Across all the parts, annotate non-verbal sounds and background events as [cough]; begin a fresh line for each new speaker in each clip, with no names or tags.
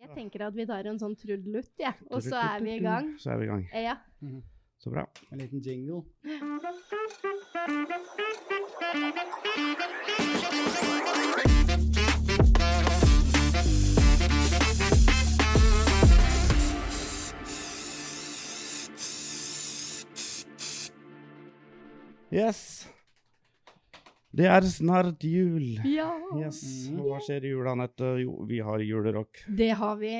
jeg tenker at vi tar en sånn trudelutt, jeg. Ja. Og så er vi i gang.
[laughs] Så er vi i gang.
Ja.
Så bra.
En liten jingle.
Yes. Det er snart jul.
ja.
Yes.
Mm.
Mhm.
Og Hva skjer i jula, Anette? Jo, vi har [laughs] julerock.
Det har vi.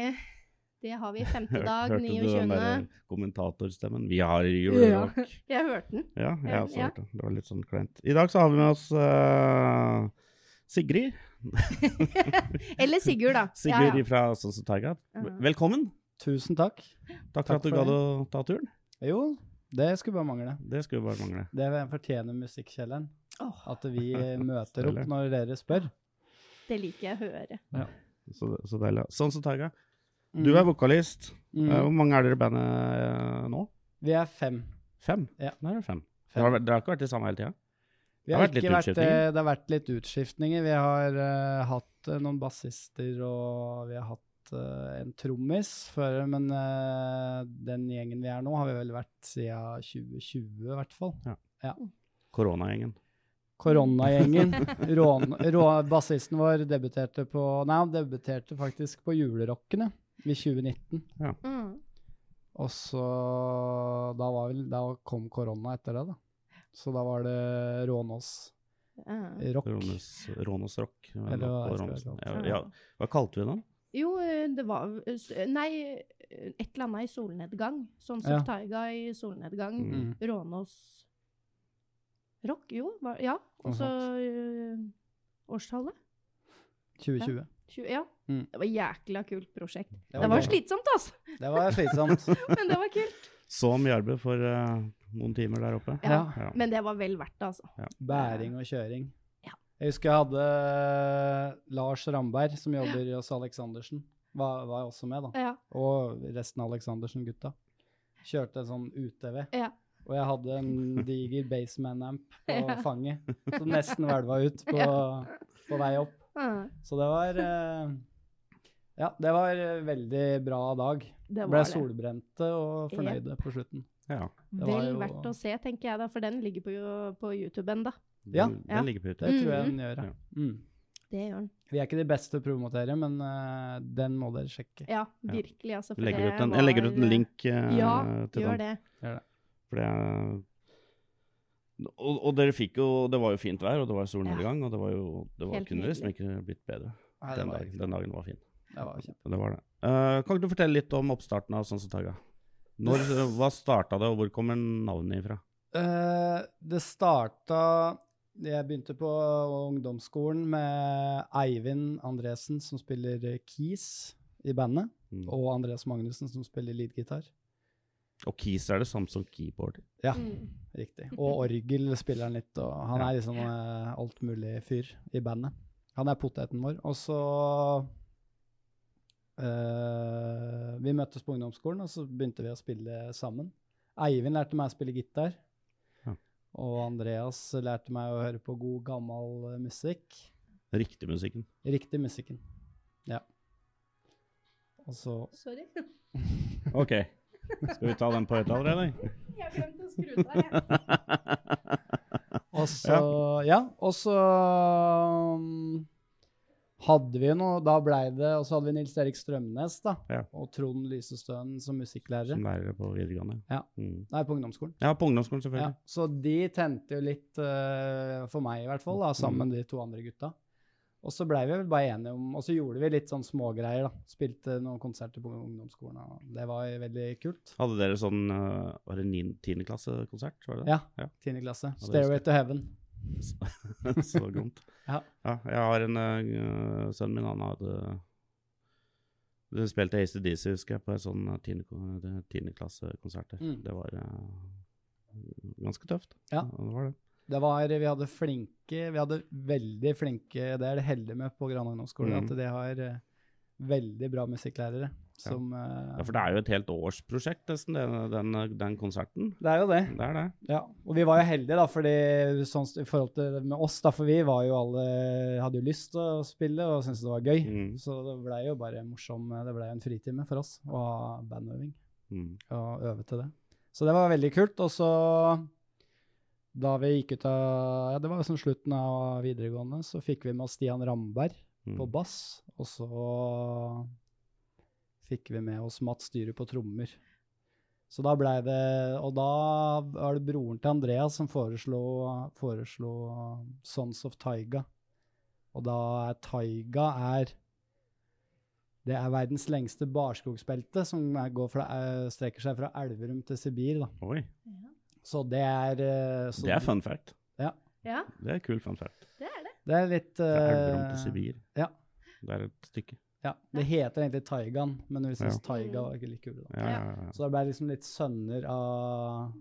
Det har vi
[laughs]
femte dag,
Hørte du den
29.
der eh, kommentatorstemmen? Vi har julerock.
Jeg hørte den.
Ja, jeg har også
Ja.
hørt det. Det var litt sånn kleint. I dag så har vi med oss eh, Sigrid.
Eller Sigurd,
[laughs]
da.
Sigrid fra Sons of Tiger.
Mhm.
Velkommen.
Tusen takk.
Takk for
Takk
at du
for
gadd å ta turen.
Jo, det skulle bare mangle.
Det skulle bare mangle.
Det fortjener Musikkjelleren.
Åh.
At vi møter opp
Deilig.
når dere spør.
Det liker jeg å høre.
Så, så deilig. Sons of Tiger. Du er vokalist. Eh,
Mm.
Hvor mange er dere i bandet eh, nå?
Vi er fem.
Fem?
Ja.
Nå er det fem.
Fem.
Dere har, vært- dere har ikke vært det samme hele tida?
Vi
Det har
har
vært
ikke
litt
vært,
utskiftninger.
eh, det har vært litt utskiftninger. Vi har eh, hatt eh, noen bassister, og vi har hatt eh, en trommis før, men eh, den gjengen vi er nå, har vi vel vært siden 2020, i hvert fall.
Koronagjengen.
Koronagjengen. Rån- rå- Bassisten vår debuterte på Nei, han debuterte faktisk på Julerockene i 2019.
Mm.
Og så da, var vel, da kom korona etter det, da. Så da var det Rånås
Ja.
rock.
Rånes, Rånes Rock.
Eller hva jeg
Og
skal
Rånes-
kalle
ja,
det.
ja. Hva kalte vi den?
Jo, eh, det var eh, s- Nei, eh, et eller annet i solnedgang. Sånn som
Ja.
Taiga i solnedgang.
Mm.
Mm.
Rånås Rock, jo. Var, ja. Og
Noe
så eh, årstallet.
2020.
Tjue- Ja.
Mm.
Det var jækla kult prosjekt.
Det
Det
var
var
gøy.
slitsomt, altså,
Det var slitsomt.
men det var kult.
Så Mjarbø for eh, noen timer der oppe.
[laughs] Ja.
ja.
Ja.
Men det var vel verdt det, altså.
Bæring og kjøring.
Ja.
Jeg husker jeg hadde eh, Lars Ramberg, som jobber hos Aleksandersen, var, var også med, da.
Ja.
Og resten av Aleksandersen-gutta. Kjørte en sånn UTV.
Ja.
Og jeg hadde en diger baseman-amp
[laughs]
på fanget, som nesten hvelva ut på, på vei opp.
Ah,
Så det var eh, Ja, det var en veldig bra dag.
Det
Ble
var det.
solbrente og fornøyde på slutten.
Ja.
det var
Vel
jo-
verdt å se, tenker jeg da, for den ligger på, på YouTube ennå.
Den,
Ja.
den
Ja.
ligger på
Det
YouTube.
tror jeg
Mhm.
den gjør, ja. Mm.
Det gjør den.
Vi er ikke de beste til å promotere, men eh, den må dere sjekke.
Ja, virkelig, altså. for
Legger
det
ut en, jeg legger ut en
var-
link eh,
Ja,
til
gjør
den.
det.
For det er- og, og dere fikk jo Det var jo fint vær, og det var solnedgang, og det var jo det var
Helt
kunne liksom ikke blitt bedre.
Nei, det
Den
var-
dagen, den dagen var fin.
det var kjempe.
Det var det. Eh, kan ikke du fortelle litt om oppstarten av Sons of Tiger? Når, hva starta det, og hvor kommer navnet ifra?
Eh, det starta Jeg begynte på ungdomsskolen med Eivind Andresen, som spiller keys i bandet,
Mm.
og Andreas Magnussen, som spiller leadgitar.
Og Keys er det samme som keyboard.
Ja,
Mm.
riktig. Og orgel spiller han litt, og han
Ja.
er liksom uh, altmulig fyr i bandet. Han er poteten vår. Og så eh, Vi møttes på ungdomsskolen, og så begynte vi å spille sammen. Eivind lærte meg å spille gitar.
Ja.
Og Andreas lærte meg å høre på god, gammel eh, musikk.
Riktig musikken.
Riktig musikken. Ja. Og så
Sorry. [laughs]
OK. Skal vi ta den på høyttaler, eller?
Jeg glemte å skru av, jeg.
Og så, ja. og så um, hadde vi jo noe, da blei det, og så hadde vi Nils Erik Strømnes da,
Ja.
og Trond Lysestøen som musikklærere.
[laughs] Som lærere på videregående.
Ja.
Mm.
Nei, på ungdomsskolen.
ja, på ungdomsskolen,
Ja,
selvfølgelig.
så de tente jo litt, eh, for meg i hvert fall,
Mm.
da, sammen med de to andre gutta. Og så blei vi vel bare enige om, og så gjorde vi litt sånn smågreier da. Spilte noen konserter på ungdomsskolen, og det var veldig kult.
Hadde dere sånn eh, Var det nin- tiendeklassekonsert? var det det?
Ja,
Ja.
10. klasse.
det
Stairway to Heaven.
[laughs] Så gromt.
Ja.
jeg har en eh, Sønnen min, han hadde Du spilte ACDC, husker jeg, på en sånn eh, tiende- tiendeklassekonserter.
Mm.
Det var eh, ganske tøft.
Ja.
det var det.
Det var, vi hadde flinke, vi hadde veldig flinke, det er det heldige med på Gran Ungdomsskole,
Mm.
at de har eh, veldig bra musikklærere. Som, eh,
Ja, for det er jo et helt årsprosjekt, nesten, den, den, den konserten.
det er jo det.
Det er det.
Ja, og vi var jo heldige da, fordi sånn st- i forhold til det med oss da, for vi var jo alle, hadde jo lyst til å spille og syntes det var gøy.
Mm.
Så det ble jo bare morsom, eh, det ble en fritime for oss å ha bandøving
Mm.
og øve til det. Så det var veldig kult, og så da vi gikk ut av, ja det var jo sånn slutten av videregående, så fikk vi med oss Stian Ramberg
Mm.
på bass, og så fikk vi med oss Mats Dyre på trommer. Så da blei det Og da var det broren til Andreas som foreslo, foreslo Sons of Taiga. Og da er Taiga er Det er verdens lengste barskogsbelte, som er- går fra, eh, strekker seg fra Elverum til Sibir. Da.
Oi,
Så det er eh, så
det er fun fact.
Ja,
Det er kul fun fact.
det er det.
Det er litt
Fra Elverum
eh,
til Sibir.
ja.
Det er et stykke.
Ja, det heter egentlig Taigaen, men vi syns
Ja.
Taiga var ikke like kul. Da.
Ja, ja, ja.
Så det ble liksom litt sønner av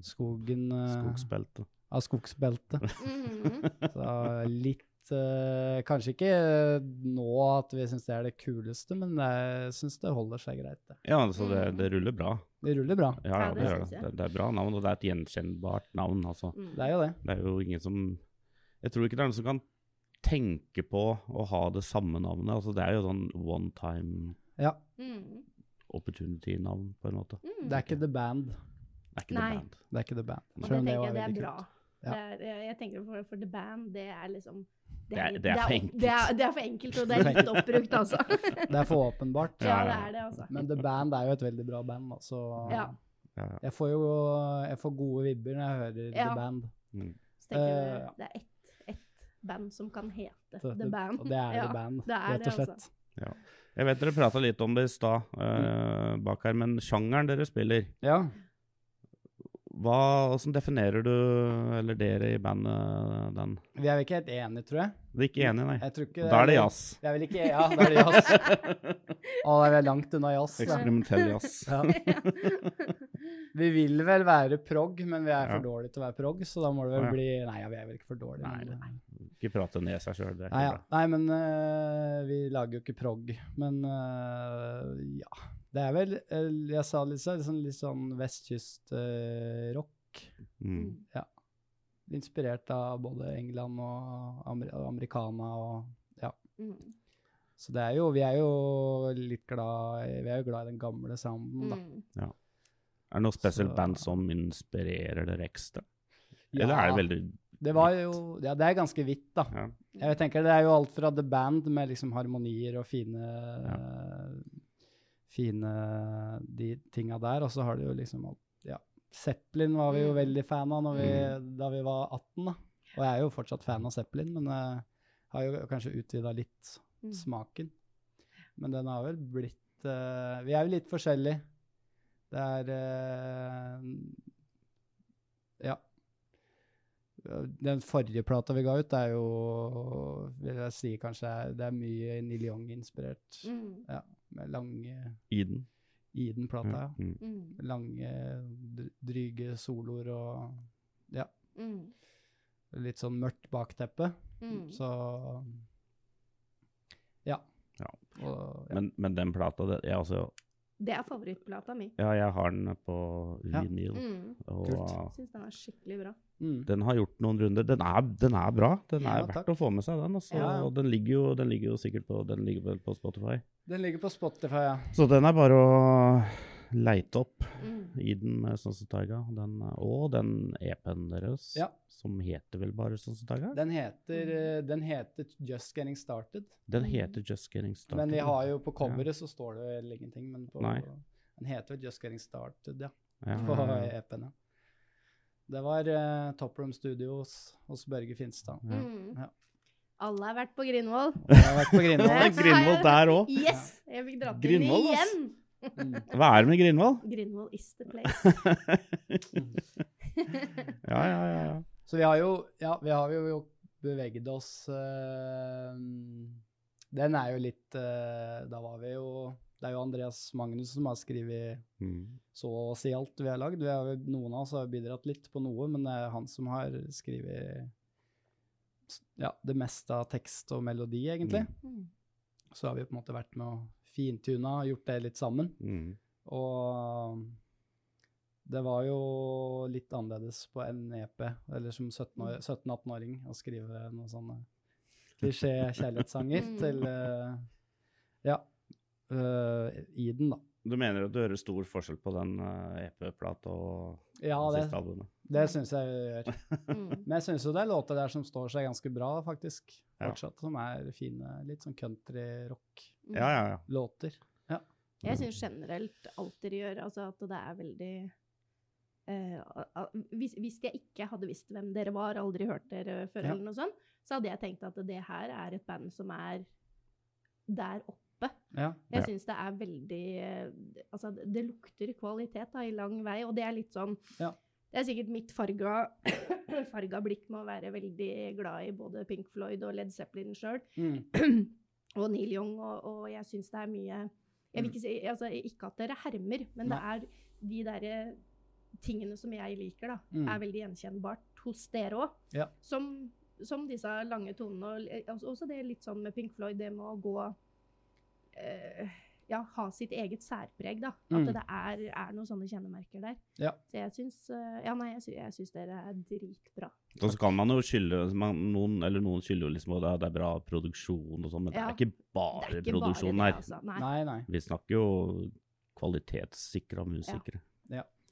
skogen eh,
Skogsbelte.
Av skogsbeltet.
Mhm.
Så litt eh, Kanskje ikke nå at vi syns det er det kuleste, men jeg syns det holder seg greit. Det.
Ja, altså det, det ruller bra.
det ruller bra.
Mm. Ja, det
Ja, ja, det gjør
synes jeg.
det. Det, det er bra navn, og det er et gjenkjennbart navn, altså.
Mm.
Det er jo det.
Det er jo ingen som Jeg tror ikke det er noen som kan tenke på å ha det samme navnet. Altså, det er jo sånn one time
Ja,
Mhm.
opportunity-navn, på en måte.
Mhm.
Det er ikke The Band.
Det er ikke
Nei.
det band.
Det er ikke The Band.
Og det
Selv om
tenker jeg det
var veldig
er bra.
kult. Ja.
Det er, eh, jeg, jeg tenker for, for The Band, det er liksom
Det er- det er for enkelt.
Det er, det er for enkelt, og det er
[laughs]
litt oppbrukt, altså.
Det er for åpenbart.
ja,
Ja,
det
ja.
er det, altså.
Men The Band er jo et veldig bra band, da, så
Ja.
Ja, ja.
Jeg får jo jeg får gode vibber når jeg hører
Ja.
The Band.
Så tenker jeg det-
Eh,
det er ett ett band som kan hete
Så
The Band.
Og det er
ja.
The Band,
det er
rett og
det,
slett.
altså.
Jeg vet dere prata litt om det i stad, eh, bak her, men sjangeren dere spiller
Ja.
hva, Hvordan definerer du, eller dere i bandet, den?
Vi er jo ikke helt enige, tror jeg.
Du er ikke enig, nei?
jeg tror ikke
Da er det jazz.
Jeg vil ikke, ja, da er det jazz. Å, da er vi langt unna jazz. da.
Eksperimentell jazz.
Ja. [laughs] Vi vil vel være prog, men vi er for
Ja.
dårlige til å være prog, så da må det
Å,
vel
ja.
bli Nei, ja, vi er vel ikke for dårlige.
Nei,
men-
Ikke prate ned seg sjøl, det er
Nei,
ikke
ja. Nei, men øh, vi lager jo ikke prog. Men øh, ja. Det er vel øh, Jeg sa litt sånn, sånn- litt sånn vestkystrock.
bra. Mm.
inspirert av både England og Amer Americana og
Mm.
Så det er jo Vi er jo litt glad i- Vi er jo glad i den gamle sounden, da.
Mm.
Er det noe spesielt
Så-
band som inspirerer dere ekstra? Eller er det veldig
Det var jo Ja, det er ganske hvitt, da.
ja.
Jeg tenker Det er jo alt fra The Band med liksom harmonier og fine Fine de tinga der, og så har det jo liksom alt Ja. Zeppelin var vi jo
Mm.
veldig fan av når vi,
Mm.
da vi var 18, da. Og jeg er jo fortsatt fan av Zeppelin, men eh, har jo kanskje utvida litt
Mm.
smaken. Men den har vel blitt eh, Vi er jo litt forskjellige. Det er eh, Ja. Den forrige plata vi ga ut, er jo vil jeg si kanskje er, Det er mye Neil Young-inspirert.
Mm.
Med lange
i den?
Eden-plata, ja.
Mm.
Mm.
Lange, dr- dryge soloer og
Mm.
litt sånn mørkt bakteppe.
Mm.
Så ja.
Ja.
Og, ja.
Men, men den plata det, jeg, altså,
Det er favorittplata mi.
Ja, jeg har den på
Ja.
vinyl.
Mm.
Og
Kult.
Syns den er skikkelig bra.
Mm.
den har gjort noen runder. Den er, den er bra. Den er
Ja,
verdt
takk.
å få med seg, den. Altså.
Ja.
Og den ligger, jo, den ligger jo sikkert på, den ligger vel på Spotify.
Den ligger på Spotify, ja.
Så den er bare å leite opp.
Mm.
Eden med Sons of Taiga. Den, og den EP-en deres,
Ja.
som heter vel bare Sons of Taiga?
Den heter, eh, den heter Just Getting Started,
Den heter Just Getting Started.
men vi har jo på coveret så står det vel ingenting, men på,
Nei.
den heter vel Just Getting Started, ja,
ja,
på
ja, ja.
EP-en, ja. Det var eh, Top Room Studios hos Børge Finstad.
Ja.
Mm.
Ja.
Alle har vært på Grindvoll.
Jeg har vært på
[laughs]
Grindvoll.
Det er Grindvoll der
òg.
Yes! Jeg fikk dratt inn
Grindvoll, ass.
igjen.
Mm.
Hva er det med Grindvoll? [laughs]
Grindvoll is the place.
[laughs]
ja, ja, ja, ja.
Så vi har jo, ja, vi har jo beveget oss eh, Den er jo litt eh, Da var vi jo Det er jo Andreas Magnus som har skrevet
Mm.
så å si alt vi har lagd. Vi har, jo- noen av oss har bidratt litt på noe, men det er han som har skrevet s- ja, det meste av tekst og melodi, egentlig.
Mm.
Så har vi på en måte vært med og fintuna og gjort det litt sammen.
Mm.
Og det var jo litt annerledes på en EP, eller som 17-år- 17-18-åring, å skrive noen sånne klisjé-kjærlighetssanger
Mm.
til eh, Ja. eh, Iden, da.
Du mener at du hører stor forskjell på den eh, EP-plata og
Ja,
det
det,
siste albumet?
det syns jeg vi gjør.
Mm.
Men jeg syns jo det er låter der som står seg ganske bra, faktisk.
Ja.
Fortsatt. Som er fine, litt sånn country-rock-låter.
Ja, ja, ja.
Jeg syns generelt alltid gjør altså at det er veldig eh, a- a- hvis, hvis jeg ikke hadde visst hvem dere var, aldri hørt dere før,
Ja.
eller noe sånt, så hadde jeg tenkt at det her er et band som er der oppe.
Ja.
Ja.
Jeg syns det er veldig eh, Altså, det det lukter kvalitet da, i lang vei, og det er litt sånn
Ja.
Det er sikkert mitt farga, [coughs] farga blikk med å være veldig glad i både Pink Floyd og Led Zeppelin sjøl,
Mm.
og Neil Young, og, og jeg syns det er mye Jeg
Mm.
vil ikke si altså, Ikke at dere hermer, men det er de derre tingene som jeg liker, da,
Mm.
er veldig gjenkjennbart hos dere òg.
Ja.
Som, som disse lange tonene, og eh, altså, også det litt sånn med Pink Floyd, det med å gå eh, Ja, ha sitt eget særpreg, da. At
Mm.
det er, er noen sånne kjennemerker der.
Ja.
Så jeg syns eh, Ja, nei, jeg syns, jeg syns dere er dritbra.
Og så kan man jo skylde man, noen, eller noen skylder jo liksom at det er bra produksjon og sånn, men
Ja.
det er ikke
Det
bare
er ikke bare
produksjon
det,
her.
altså. Nei.
Nei, nei.
Vi snakker jo kvalitetssikra musikere.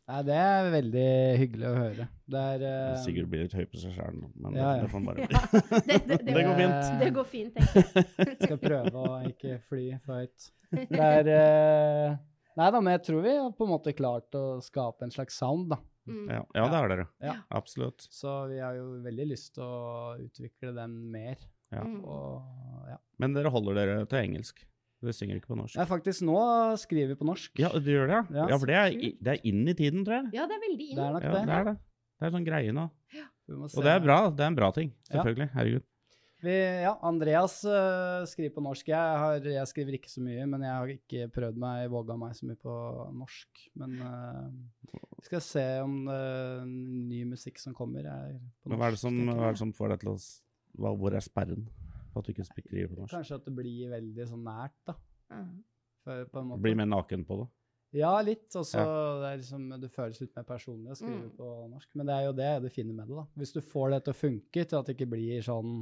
Nei, det er veldig hyggelig å høre. Det er eh,
Sikkert blir litt høy på seg sjæl nå, men
Ja, ja.
det, det får man bare bli.
Um, [laughs] Ja, det, det, det,
[laughs] Det går
fint.
Det går fint, tenker jeg.
[laughs]
[laughs]
Skal prøve å ikke fly for høyt. Det er eh, Nei da, men jeg tror vi har på en måte klart å skape en slags sound, da.
Mm.
Ja, ja det har dere.
Ja.
Absolutt.
Så vi har jo veldig lyst til å utvikle den mer.
Ja.
Mm.
Og ja.
Men dere holder dere til engelsk. Dere synger ikke på norsk.
Nei, faktisk, nå skriver vi på norsk.
Ja, du gjør det, ja?
Ja.
Ja, for det er, i- det er inn i tiden, tror jeg.
Ja, det er veldig inn.
Det er nok
Ja,
det.
det er det. Det er sånn greie nå.
Vi må
Og
se.
det er bra. Det er en bra ting.
Ja.
Selvfølgelig. Herregud.
Vi, ja, Andreas eh, skriver på norsk. Jeg, har, jeg skriver ikke så mye, men jeg har ikke prøvd meg, våga meg så mye på norsk. Men eh, vi skal se om eh, ny musikk som kommer, er på norsk.
Men hva er det som,
tenker jeg.
hva er det som får deg til å s- hva, Hvor er sperren på at du ikke skriver på norsk?
Kanskje at det blir veldig sånn nært, da.
Mm.
For, på en måte.
Blir mer naken på det.
Ja, litt. Og så det er liksom, det føles litt mer personlig å skrive
Mm.
på norsk. Men det er jo det det fine med det, da. Hvis du får det til å funke, til at det ikke blir sånn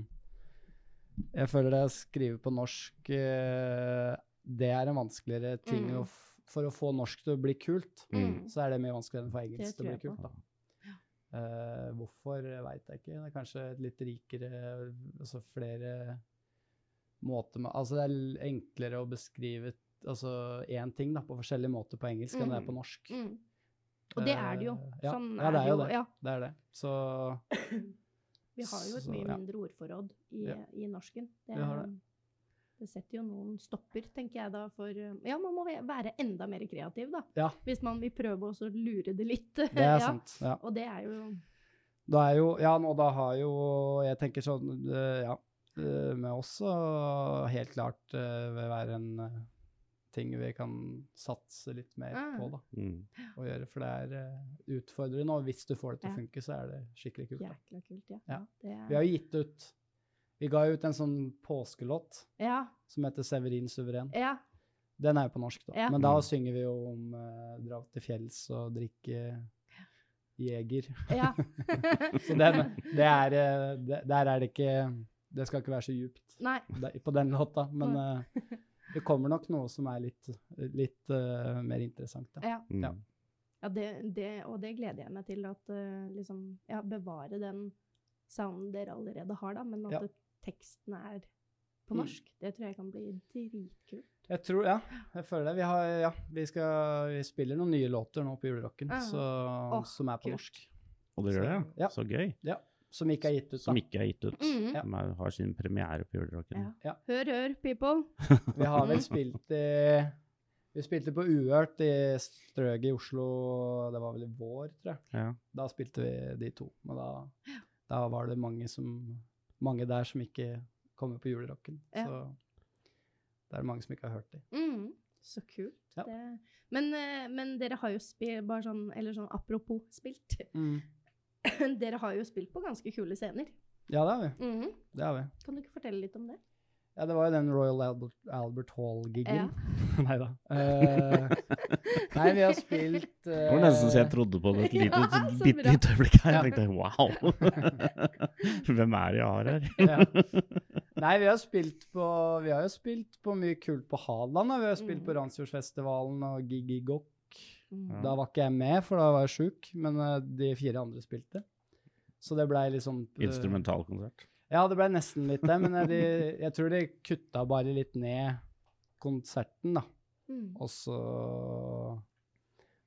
Jeg føler det å skrive på norsk eh, Det er en vanskeligere ting
Mm.
å f for å få norsk til å bli kult.
Mm.
Så er det mye vanskeligere enn å få engelsk til å
tror
bli
jeg
kult, da. Eh, hvorfor veit jeg ikke. Det er kanskje et litt rikere Altså flere måter med Altså det er l- enklere å beskrive altså én ting da, på forskjellige måter på engelsk enn det er på norsk.
Mm. Og det er det jo.
Eh, ja.
Sånn
Ja, det er jo det.
Ja.
Det er det. Så
[laughs] Vi har jo et
Så,
mye
ja.
mindre ordforråd i,
Ja.
i norsken. Det,
Vi har
er- det setter jo noen stopper, tenker jeg da, for eh, Ja, man må ve- være enda mer kreativ, da.
Ja.
Hvis man vil prøve også å lure det litt.
det
[laughs]
er
Ja.
sant. Ja.
Og det er jo
Da er jo Ja, nå da har jo Jeg tenker sånn eh, Ja. eh, Med oss så helt klart eh, vil være en eh, ting vi kan satse litt mer
Ah.
på, da.
Mm.
å gjøre, for det er eh, utfordrende, og hvis du får det til å
Ja.
funke, så er det skikkelig kult. Da.
jækla kult, ja.
Ja.
Det er,
Vi har jo gitt ut Vi ga ut en sånn påskelåt
ja,
som heter 'Severin suveren'.
ja.
Den er jo på norsk, da.
Ja.
Men da
Mm.
synger vi jo om eh, dra til fjells og drikke Jeger.
[laughs] ja.
[laughs] Så den,
[laughs]
det er eh, det, Der er det ikke Det skal ikke være så djupt
Nei.
der- på den låta, men eh, det kommer nok noe som er litt, litt eh, mer interessant, da.
Ja.
Mm.
Ja.
Ja, det, det, og det gleder jeg meg til. At eh, liksom, ja, bevare den sounden dere allerede har, da, men at
Ja.
det- teksten er på
Mm.
norsk. Det tror jeg kan bli dritkult.
Jeg tror, ja. Jeg føler det. Vi, har, ja, vi, skal, vi spiller noen nye låter nå på julerocken
Ja.
så,
Åh,
som er på
kult.
norsk.
Og det gjør det?
Ja.
ja. Så gøy.
Som ikke er gitt ut,
Som
da.
ikke er gitt ut.
Mhm.
Som er, har sin premiere på Julerocken.
Ja.
Ja.
Hør, hør, people.
Vi har vel spilt i Vi spilte på Uhørt i Strøget i Oslo, det var vel i vår, tror jeg.
Ja.
Da spilte vi de to. Men da, da var det mange, som, mange der som ikke kommer på julerocken.
Ja.
Så det er mange som ikke har hørt de.
Mm. Så kult.
Ja.
Det, men, eh, men dere har jo spilt bare sånn, Eller sånn apropos spilt. [laughs] dere har jo spilt på ganske kule scener.
Ja, det har vi.
Mhm.
Det har vi.
Kan du ikke fortelle litt om det?
Ja, det var jo den Royal Albert, Albert Hall-giggen.
Ja.
[laughs]
[laughs]
nei da. [laughs] Eh, nei, vi har spilt eh,
Det var nesten så jeg trodde på det et lite,
[laughs] Ja,
et
så
bitte
bra.
lite øyeblikk her.
Ja.
Jeg tenkte wow! [laughs] Hvem er det jeg har her?
ja.
[laughs]
Nei, vi har spilt på Vi har jo spilt på mye kult på Hadeland. da. Vi har spilt
Mm.
på Randsfjordfestivalen og Gigi Gokk.
[laughs] Mm.
Da var ikke jeg med, for da var jeg sjuk, men eh, de fire andre spilte. Så det blei liksom eh,
Instrumentalkonsert.
Ja, det blei nesten litt det, men eh, de, jeg tror de kutta bare litt ned konserten, da.
Mm.
Og så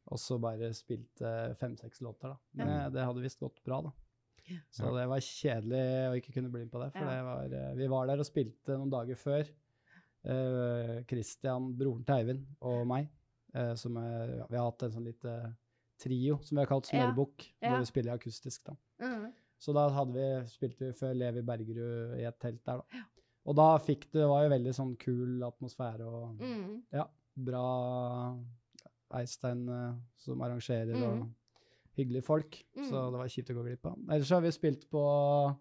og så bare spilte fem-seks låter, da. Men
Ja.
eh, det hadde visst gått bra, da. Så
Ja.
det var kjedelig å ikke kunne bli med på det. For
Ja.
det var, eh, vi var der og spilte noen dager før. Eh, Christian, broren til Eivind, og meg. eh, som er, ja, vi har hatt en sånn lite trio som vi har kalt
Ja.
Smørbukk,
Ja.
hvor vi spiller akustisk, da.
Mm.
Så da hadde vi, spilte vi før Levi Bergerud i et telt der, da. Og da fikk det, det var jo veldig sånn kul atmosfære og
Mm.
bra Eistein eh, som arrangerer,
Mhm.
og hyggelige folk. Så
Mhm.
det var kjipt å gå glipp av. Ellers så har vi spilt på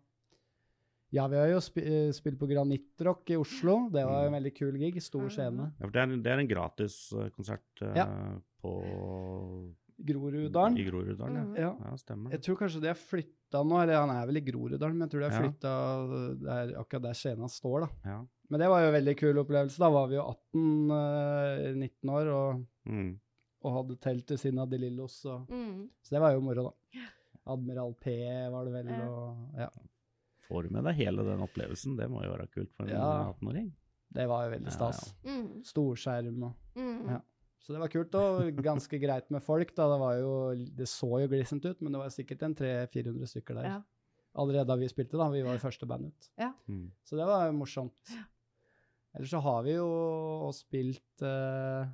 Ja, vi har jo spi- eh, spilt på Granittrock i Oslo. Det var jo en veldig kul gig. Stor
Mhm.
scene.
Ja, for det, er, en- det er en gratis eh, konsert eh,
Ja.
på I
Groruddalen.
Groruddalen, ja.
Mm.
Ja.
ja. Stemmer.
Jeg tror kanskje de har flytta nå. Eller han er vel i Groruddalen, men jeg tror de har
Ja.
flytta der, akkurat der scena står, da.
Ja.
Men det var jo en veldig kul opplevelse. Da var vi jo 18-19 år og,
Mm.
og hadde telt ved siden av De Lillos. Og
Mm.
Så det var jo moro, da. Admiral P var det vel,
Ja.
og ja.
Får du med deg hele den opplevelsen? Det må jo være kult for en
Ja.
18-åring.
Det var jo
Ja,
veldig stas.
Mm.
Storskjerm og
Mm.
Ja. Så det var kult, og ganske greit med folk. da. Det, var jo, det så jo glissent ut, men det var sikkert en 300-400 stykker der.
Ja.
Allerede da vi spilte, da. Vi var jo første band ut.
Mm.
Så det var jo morsomt. Ellers så har vi jo også spilt eh,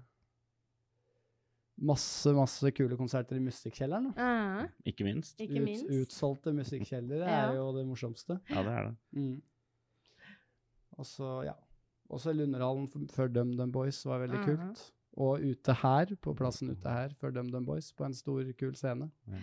masse, masse kule konserter i Musikkjelleren. da.
Ah,
Ikke minst.
Ikke minst.
utsolgte musikkjeldere
Ja.
er jo det morsomste.
Ja, det er det.
Mm. Og så, ja. Også Lunderhallen f- før DumDum Boys var
Mhm.
veldig kult. Og ute her, på plassen ute her, før DumDum Boys, på en stor, kul scene.
Ja.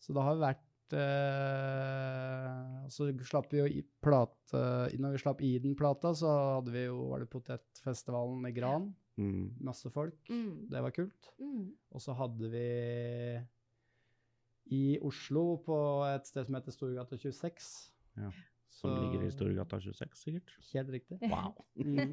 Så det har vært eh, og Så slapp vi jo i plate Når vi slapp Eden-plata, så hadde vi jo, var det Potetfestivalen i Gran.
Mm.
Masse folk.
Mm.
Det var kult.
Mm.
Og så hadde vi i Oslo, på et sted som heter Storgata 26
Ja,
så-
Som ligger i Storgata 26, sikkert.
Helt riktig. [laughs]
[laughs] Wow.
Mm.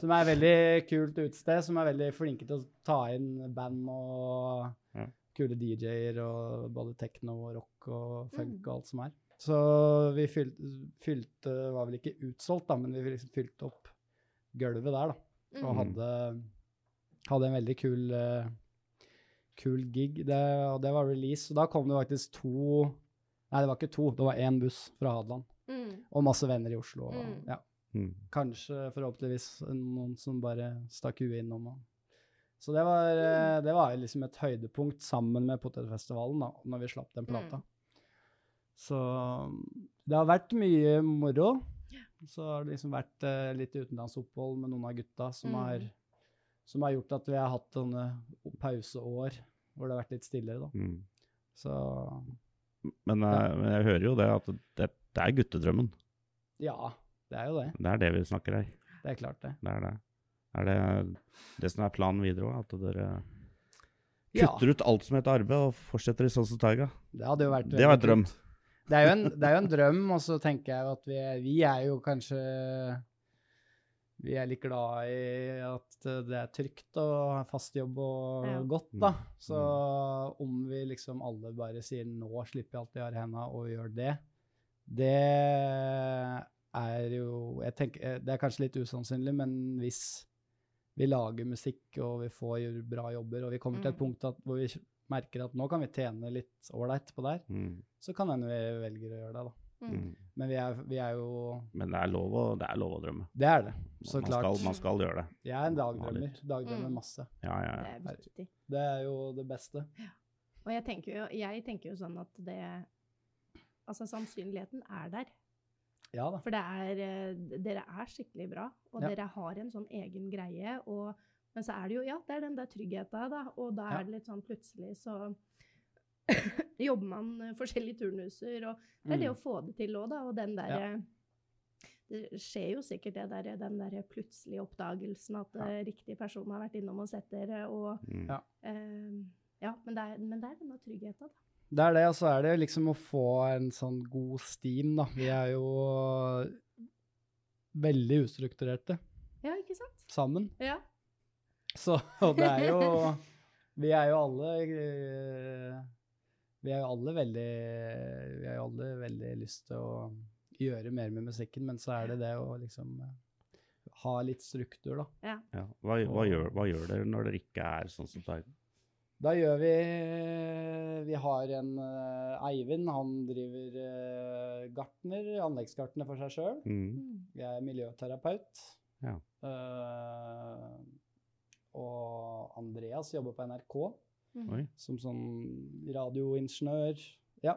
Som er et veldig kult utested, som er veldig flinke til å ta inn band og
Ja.
kule DJ-er og både techno og rock og funk
Mm.
og alt som er. Så vi fylte, fylte var vel ikke utsolgt, da, men vi liksom fylte opp gulvet der, da. Og
Mm.
Mm.
hadde, hadde en veldig kul, eh, kul gig. Det, og det var release. Og da kom det faktisk to Nei, det var ikke to, det var én buss fra Hadeland.
Mm.
Og masse venner i Oslo. Og,
Mm.
ja.
Mm.
Kanskje forhåpentligvis noen som bare stakk huet innom. Og. Så det var, eh, det var liksom et høydepunkt sammen med Potetfestivalen, da, når vi slapp den plata.
Mm.
Så det har vært mye moro. Så har det liksom vært eh, litt utenlandsopphold med noen av gutta som,
Mm.
har, som har gjort at vi har hatt sånne pauseår hvor det har vært litt stillere, da.
Mm.
Så
Men, eh, men jeg hører jo det at det, det er guttedrømmen.
ja, det er jo det.
Det er det vi snakker her.
Det er klart, det.
Det er det. Er det det som er planen videre òg? At dere
Ja,
kutter ut alt som heter arbeid, og fortsetter i sånn som Taiga?
det hadde jo vært
Det var
veldig
et drøm.
kult. Det er, jo en, det er jo en drøm, og så tenker jeg jo at vi, vi er jo kanskje Vi er litt glad i at det er trygt og har fast jobb og
Ja.
godt, da.
Mm.
Så om vi liksom alle bare sier 'nå slipper jeg alt jeg har i henda', og gjør det, det er jo jeg tenker, eh, Det er kanskje litt usannsynlig, men hvis vi lager musikk og vi får gjøre bra jobber, og vi kommer til et
Mm.
punkt at, hvor vi merker at nå kan vi tjene litt ålreit på det her,
Mm.
så kan hende vi velger å gjøre det, da.
Mm.
Mm.
Men vi er, vi er jo
Men det er lov å, det er lov å drømme.
Det er det, så
Man
klart.
skal, man skal gjøre det.
Jeg er en
Ha
dagdrømmer.
litt.
Dagdrømmer
Mm.
masse.
Ja, ja,
Det
ja.
er viktig.
Det er jo det beste.
Og jeg tenker, jo, jeg tenker jo sånn at det Altså, sannsynligheten er der.
Ja da.
For det er, eh, dere er skikkelig bra, og
Ja.
dere har en sånn egen greie. Og, men så er det jo ja, det er den der tryggheten, da. Og da
Ja.
er det litt sånn plutselig så [coughs] jobber man eh, forskjellige turnuser, og det er det å
Mm.
få det til òg, da. Og den der
Ja.
eh, det skjer jo sikkert det der, den der plutselige oppdagelsen at eh, riktig person har vært innom og sett dere. Og,
Mm.
Ja.
eh, ja, men det, er, men det er denne tryggheten, da.
Det er det, og så er det liksom å få en sånn god steam, da. Vi er jo veldig ustrukturerte
Ja, ikke sant?
sammen.
Ja.
Så og det er jo Vi er jo alle eh, Vi er jo alle veldig Vi har jo alle veldig lyst til å gjøre mer med musikken, men så er det det å liksom eh, ha litt struktur, da.
Ja. Hva, hva, gjør, hva gjør dere når dere ikke er sånn som deg?
Da gjør vi Vi har en eh, Eivind, han driver eh, gartner, anleggsgartner for seg sjøl.
Mm.
Mm.
Jeg er miljøterapeut.
Ja.
Eh, og Andreas jobber på NRK
Mm.
Oi.
som sånn radioingeniør. Ja.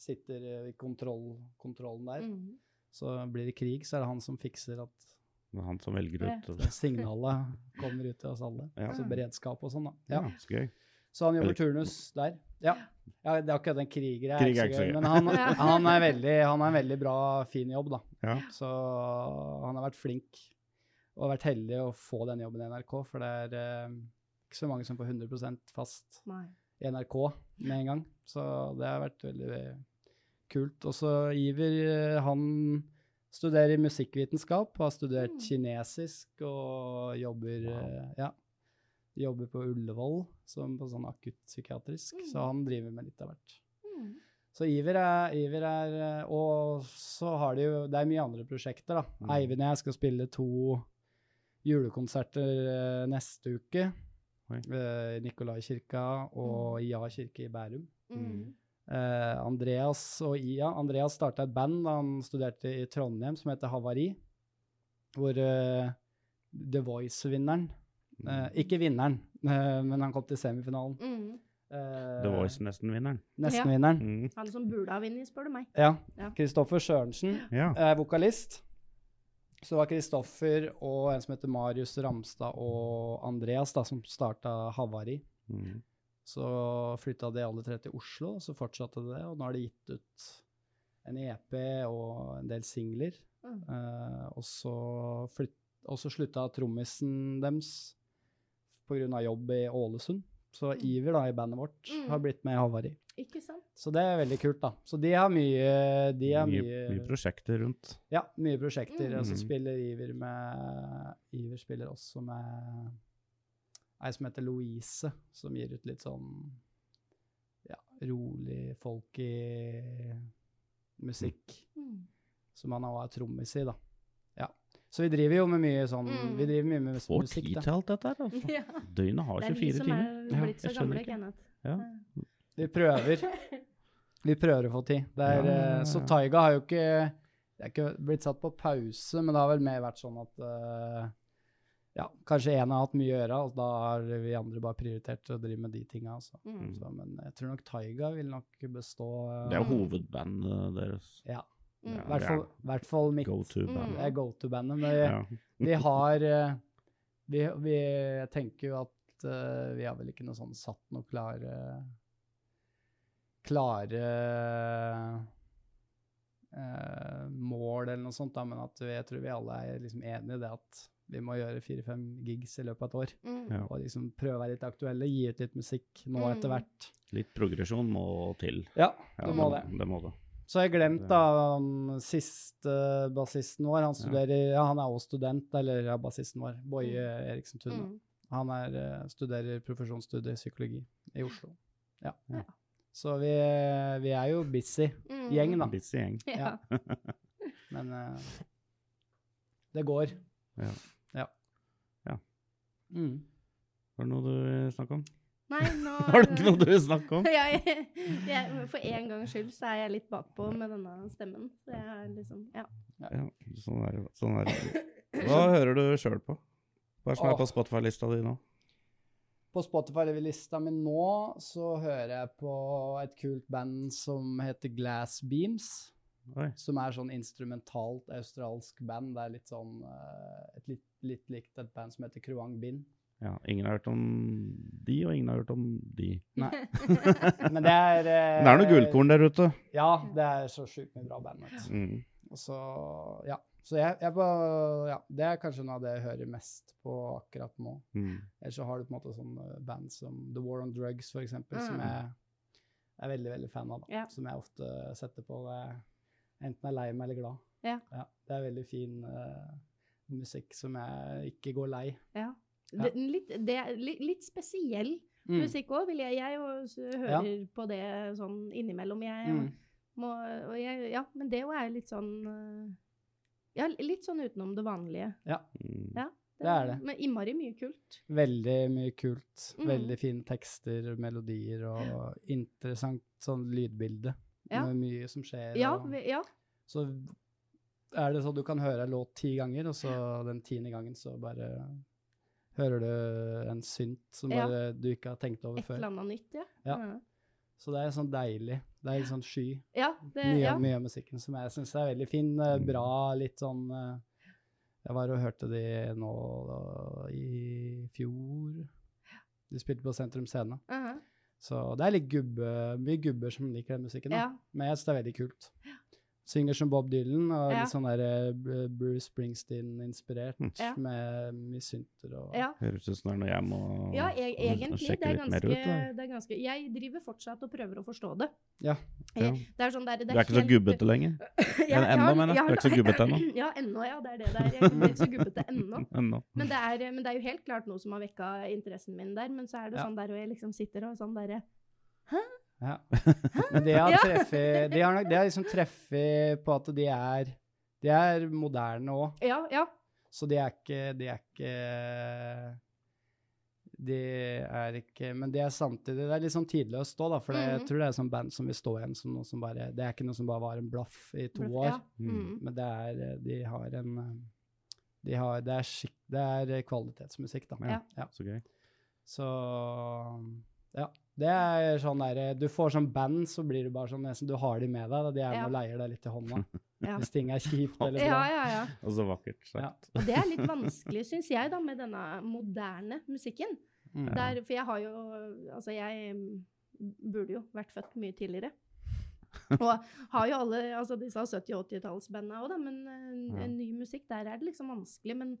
Sitter eh, i kontroll, kontrollen der.
Mm.
Så blir det krig, så er det han som fikser at
Det er han som velger ut
Ja.
og-
signalet [laughs] kommer ut til oss alle.
Ja.
Så beredskap og sånn, da.
Ja,
Ja.
så gøy.
Så han jobber
Eller-
turnus der. Ja. ja det er akkurat den kriger er
Krig
ikke så gøy, men han,
[laughs] Ja.
han, er veldig, han er en veldig bra, fin jobb, da.
Ja.
Så han har vært flink og vært heldig å få den jobben i NRK, for det er eh, ikke så mange som får 100 fast
Nei.
i NRK med en gang. Så det har vært veldig kult. Og så Iver, eh, han studerer musikkvitenskap, har studert
Mm.
kinesisk og jobber eh, Ja. Jobber på Ullevål som på sånn akuttpsykiatrisk,
Mm.
så han driver med litt av hvert.
Mm.
Så Iver er, Iver er eh, Og så har de jo Det er mye andre prosjekter, da.
Mm.
Eivind og jeg skal spille to julekonserter eh, neste uke.
Oi. Mm.
Eh, I Nikolai-kirka og i Ja kirke i Bærum.
Mm.
Eh, Andreas og Ia Andreas starta et band da han studerte i Trondheim, som heter Havari. Hvor eh, The Voice-vinneren
Mm.
eh, Ikke vinneren, eh, men han kom til semifinalen.
Mm.
Eh,
The Voice nesten
[laughs]
vinneren.
Nesten-vinneren.
Mm.
Han som burde ha vunnet, spør du meg.
Ja.
Ja.
Kristoffer Sørensen.
Ja.
er eh, vokalist. Så det var Kristoffer og en som heter Marius Ramstad og Andreas da, som starta Havari.
Mm.
Så flytta de alle tre til Oslo, og så fortsatte det. Og nå har de gitt ut en EP og en del singler.
Mm.
Eh, og, så flytt, og så slutta trommisen deres pga. jobb i Ålesund. Så Iver da, i bandet vårt
Mm.
har blitt med i Havari.
Ikke sant?
Så det er veldig kult, da. Så de har mye, de har
Mye,
mye,
mye prosjekter rundt.
ja, mye prosjekter. Og så
Mm.
spiller Iver med Iver spiller også med ei som heter Louise, som gir ut litt sånn ja, rolig, folky musikk.
Mm.
Som han også er trommis i, da. Ja. Så vi driver jo med mye sånn
Mm.
Vi driver mye med mus-
Får
musikk,
tid
da.
til alt dette her, altså.
[laughs] Ja.
Døgnet har
Det er vi
24
som
timer.
er
Ja,
blitt så
jeg skjønner
gamle,
ikke.
Kenneth.
Ja.
Vi prøver. Vi prøver å få tid. Det er,
Ja, ja,
eh, Så
ja.
Taiga har jo ikke Det er ikke blitt satt på pause, men det har vel mer vært sånn at eh, ja, kanskje én har hatt mye å gjøre, og da har vi andre bare prioritert å drive med de tinga. Altså.
Mm.
Så, men jeg tror nok Taiga vil nok bestå eh,
Det er
Mm.
jo hovedbandet deres.
Mm.
Ja.
I hvert fall- hvert fall mitt.
Go to-bandet.
Det er go to-bandet. Men vi,
Ja.
vi Mm. har eh, vi, vi, Jeg tenker jo at eh, vi har vel ikke noe sånn satt noe klare klare eh, mål eller noe sånt, da, men at vi, jeg tror vi alle er liksom enige i det at vi må gjøre fire-fem gigs i løpet av et år.
Mm.
Ja.
Og liksom prøve å være litt aktuelle, gi ut litt musikk nå
Mm.
etter hvert.
Litt progresjon må til.
Ja,
Ja,
det må det.
Det må det.
Så har jeg glemt da han siste bassisten vår. Han studerer, ja. han er også student, eller ja, bassisten vår, Boje Eriksen Tune.
Mm.
Han er, eh, studerer profesjonsstudiet psykologi i Oslo. Ja.
Ja.
Så vi, eh, vi er jo busy
Mm.
gjeng, da.
Busy gjeng.
[laughs] Ja.
Men eh, det går.
Ja.
Ja.
Ja.
Mm.
Var det noe du vil snakke om?
Nei, nå
Var det ikke noe du vil snakke
[laughs]
om?
Ja, jeg, jeg, for en gangs skyld så er jeg litt bakpå med denne stemmen. Så jeg er liksom, ja.
Ja, sånn er det. Sånn er det. Hva hører du sjøl på? Hva er som er på
Åh.
Spotify-lista di nå?
På Spotify-lista mi nå så hører jeg på et kult band som heter Glass Beams.
Oi.
Som er sånn instrumentalt australsk band. Det er litt sånn eh, et litt, litt likt et band som heter Kruang Bind.
Ja, ingen har hørt om de, og ingen har hørt om de.
[laughs]
Men
Men det er eh,
Det er noe gullkorn der ute.
altså. Ja, det er så sjukt mye bra band. Vet. du.
Mm.
Og så, ja. Så jeg, jeg bare, ja, det er kanskje noe av det jeg hører mest på akkurat nå.
Mm.
Eller så har du på en måte sånne band som The War on Drugs, for eksempel, som
Mm.
jeg er veldig, veldig fan av. Da.
Ja.
Som jeg ofte setter på når jeg enten er lei meg eller glad.
Ja.
det er veldig fin eh, musikk som jeg ikke går lei.
Ja.
Ja. Mm.
Det, litt, det er li- litt spesiell musikk òg, vil jeg. Jeg og- s- hører på det sånn innimellom, jeg.
Mm.
Må, og jeg ja, men det òg er litt sånn øh, Ja, litt sånn utenom det vanlige.
Mm.
Ja.
Det er det.
Men innmari mye kult.
Veldig mye kult.
Mm.
Veldig fine tekster, melodier og interessant sånn lydbilde.
Ja.
Med mye som skjer.
Ja,
og-
vi, ja.
så er det sånn du kan høre en låt ti ganger, og så den tiende gangen så bare hører du en synt som
Ja.
bare du ikke har tenkt over
Et
før.
eller annet nytt, ja.
Ja.
Mm.
Så det er sånn deilig. Det er litt sånn sky.
Ja, det,
Mye,
ja.
mye av musikken som jeg syns er veldig fin. eh,
Mm.
Bra, litt sånn eh, Jeg var og hørte de nå da, i fjor. De spilte på Sentrum Scene.
Mhm.
Så det er litt gubbe, mye gubber som liker den musikken. Da.
ja.
Men jeg synes det er veldig kult. Synger som Bob Dylan, og
Ja.
litt sånn der eh, Bru- Bruce Springsteen-inspirert,
Ja.
med mye synter og
ja.
Hm. Høres ut som det er noe jeg må
Ja, e egentlig. Det
sjekke
er,
litt mer
ganske, e-,
ut. da.
det er ganske Jeg driver fortsatt og prøver å forstå det.
Ja.
Ja.
Eh, Det er sånn der, det
Du er ikke
helt-
så gubbete lenger?
[laughs] Jeg-
Ennå,
jeg har-
mener jeg.
jeg har-
Du er ikke
[laughs]
så gubbete ennå.
Ja, ennå, ja. Det er det der. Jeg er ikke blitt så gubbete ennå.
[laughs] Ennå.
Men det, er, men det er jo helt klart noe som har vekka interessen min der. Men så er det
Ja.
sånn der, og jeg liksom sitter og sånn derre
Ja. Men de
[laughs]
har,
Ja.
treffet, de har, nok, de har liksom treffet på at de er, de er moderne òg,
Ja, ja.
så de er ikke De er ikke de er ikke, men det er samtidig det er litt sånn tidløst òg, da. For det- jeg
Mhm.
tror det er sånn band som vil stå igjen som noe som bare Det er ikke noe som bare var en blaff i to år.
Ja.
Hm.
Mm.
Men det er eh, De har en eh, de har, det, er skikk, det er eh, kvalitetsmusikk, da.
Ja.
Ja.
Så gøy.
Så Ja. Det er sånn derre Du får sånn band, så blir det bare sånn nesten Du har de med deg. Da. De er med
Ja.
og leier deg litt i hånda.
[laughs] Ja.
Hvis ting er kjipt eller bra.
ja, ja, ja.
Og så vakkert sagt.
Og det er litt vanskelig, syns jeg, da, med denne moderne musikken.
Mm.
Der, for jeg har jo Altså, jeg mm, burde jo vært født mye
[laughs]
tidligere. Og har jo alle altså disse 70- og 80-tallsbandene òg, da, men eh,
Ja.
n- ny musikk, der er det liksom vanskelig. Men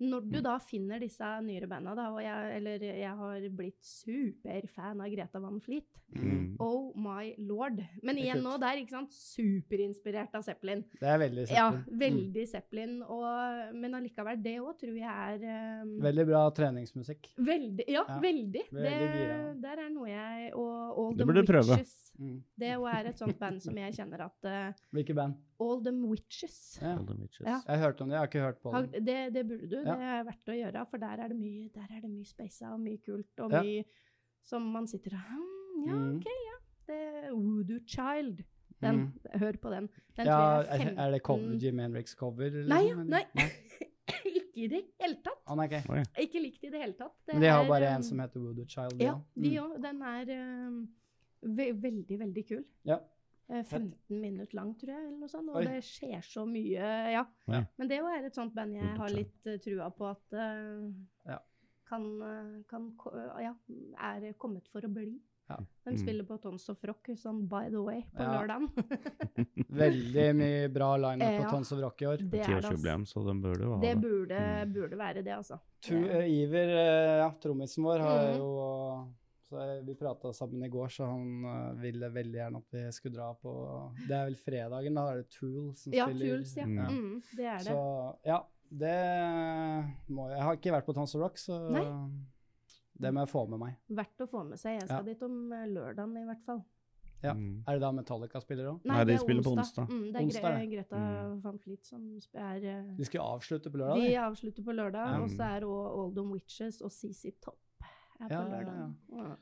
når
Mm.
du da finner disse nyere banda, da, og jeg, eller jeg har blitt superfan av Greta Van Fleet
Mm.
Oh my lord. Men
Det er
igjen nå
kult.
der, ikke sant, superinspirert av Zeppelin.
Det er veldig
Ja,
Zeppelin. Mm.
veldig Zeppelin. Og, men allikevel, det òg tror jeg er eh,
Mm. Veldig bra treningsmusikk.
Veldig. Ja,
Ja.
veldig.
Veldig gira.
det, der er noe jeg Og All
Det
Them
burde du prøve.
Witches.
Mm.
Det òg er et sånt band som jeg kjenner at eh,
Hvilket band?
All Them Witches.
Ja.
Golden Witches. [laughs]
Ja.
Jeg hørte om det, jeg har ikke hørt på
Har-
det.
Det, det burde du.
Ja.
Det er verdt å gjøre, for der er det mye, der er det mye spaisa og mye kult og
Ja.
mye som man sitter og «Hm, Ja,
Mm.
OK, ja. Det er Voodoo Child. Den,
Mm.
Hør på den. den tror
Ja, er,
jeg
er det cover,
15
Jim Henriks-cover? liksom,
Nei,
eller?
nei. [laughs] Ikke i det hele tatt.
Han er ikke
Oi.
Ikke likt i det hele tatt. Det
Men de har
er,
bare
um,
en som heter Voodoo Child.
Ja, de
Mm.
òg.
òg. Den er um, ve veldig, veldig kul.
Ja.
Eh, 15 minutter lang, tror jeg, eller noe sånt. Og
Oi.
det skjer så mye, ja.
Ja.
Men det òg er et sånt band jeg
Undertøy.
har litt eh, trua på at eh,
Ja.
kan, eh, kan ko- Ja, er kommet for å bli.
Ja.
De
Mm.
spiller på Tons of Rock, sånn by the way, på
Ja. [laughs]
lørdagen.
Veldig
[laughs]
mye bra lineup
Ja.
på Tons of Rock i år.
Det er det, ass.
Tiårsjubileum, så den burde jo ha
Det
det.
burde,
Mm.
burde være det, altså.
Tu,
Det-
eh, Iver, eh, ja, trommisen vår, har
Mhm.
jo så eh, Vi prata sammen i går, så han eh, ville veldig gjerne at vi skulle dra på Det er vel fredagen, da? Er det Tool som
Ja,
spiller?
Tools, ja.
Mm.
Ja.
Mm, det er det.
Så ja, det må jeg Jeg har ikke vært på Tons of Rock, så det må jeg få med meg.
Verdt å få med seg. Jeg skal
Ja.
dit om eh, lørdagen, i hvert fall.
Ja.
Mm.
Er det da Metallica spiller òg?
Nei, de spiller på onsdag.
Mm, det er
Onsdag,
Gre
ja.
Greta
Mm.
van Fliet som sp- er eh,
De skulle avslutte på lørdag?
De
de.
avslutter på lørdag,
Ja.
og så er òg Oldham Witches og CC Topp er på
Ja, ja, ja.
lørdag. Ja.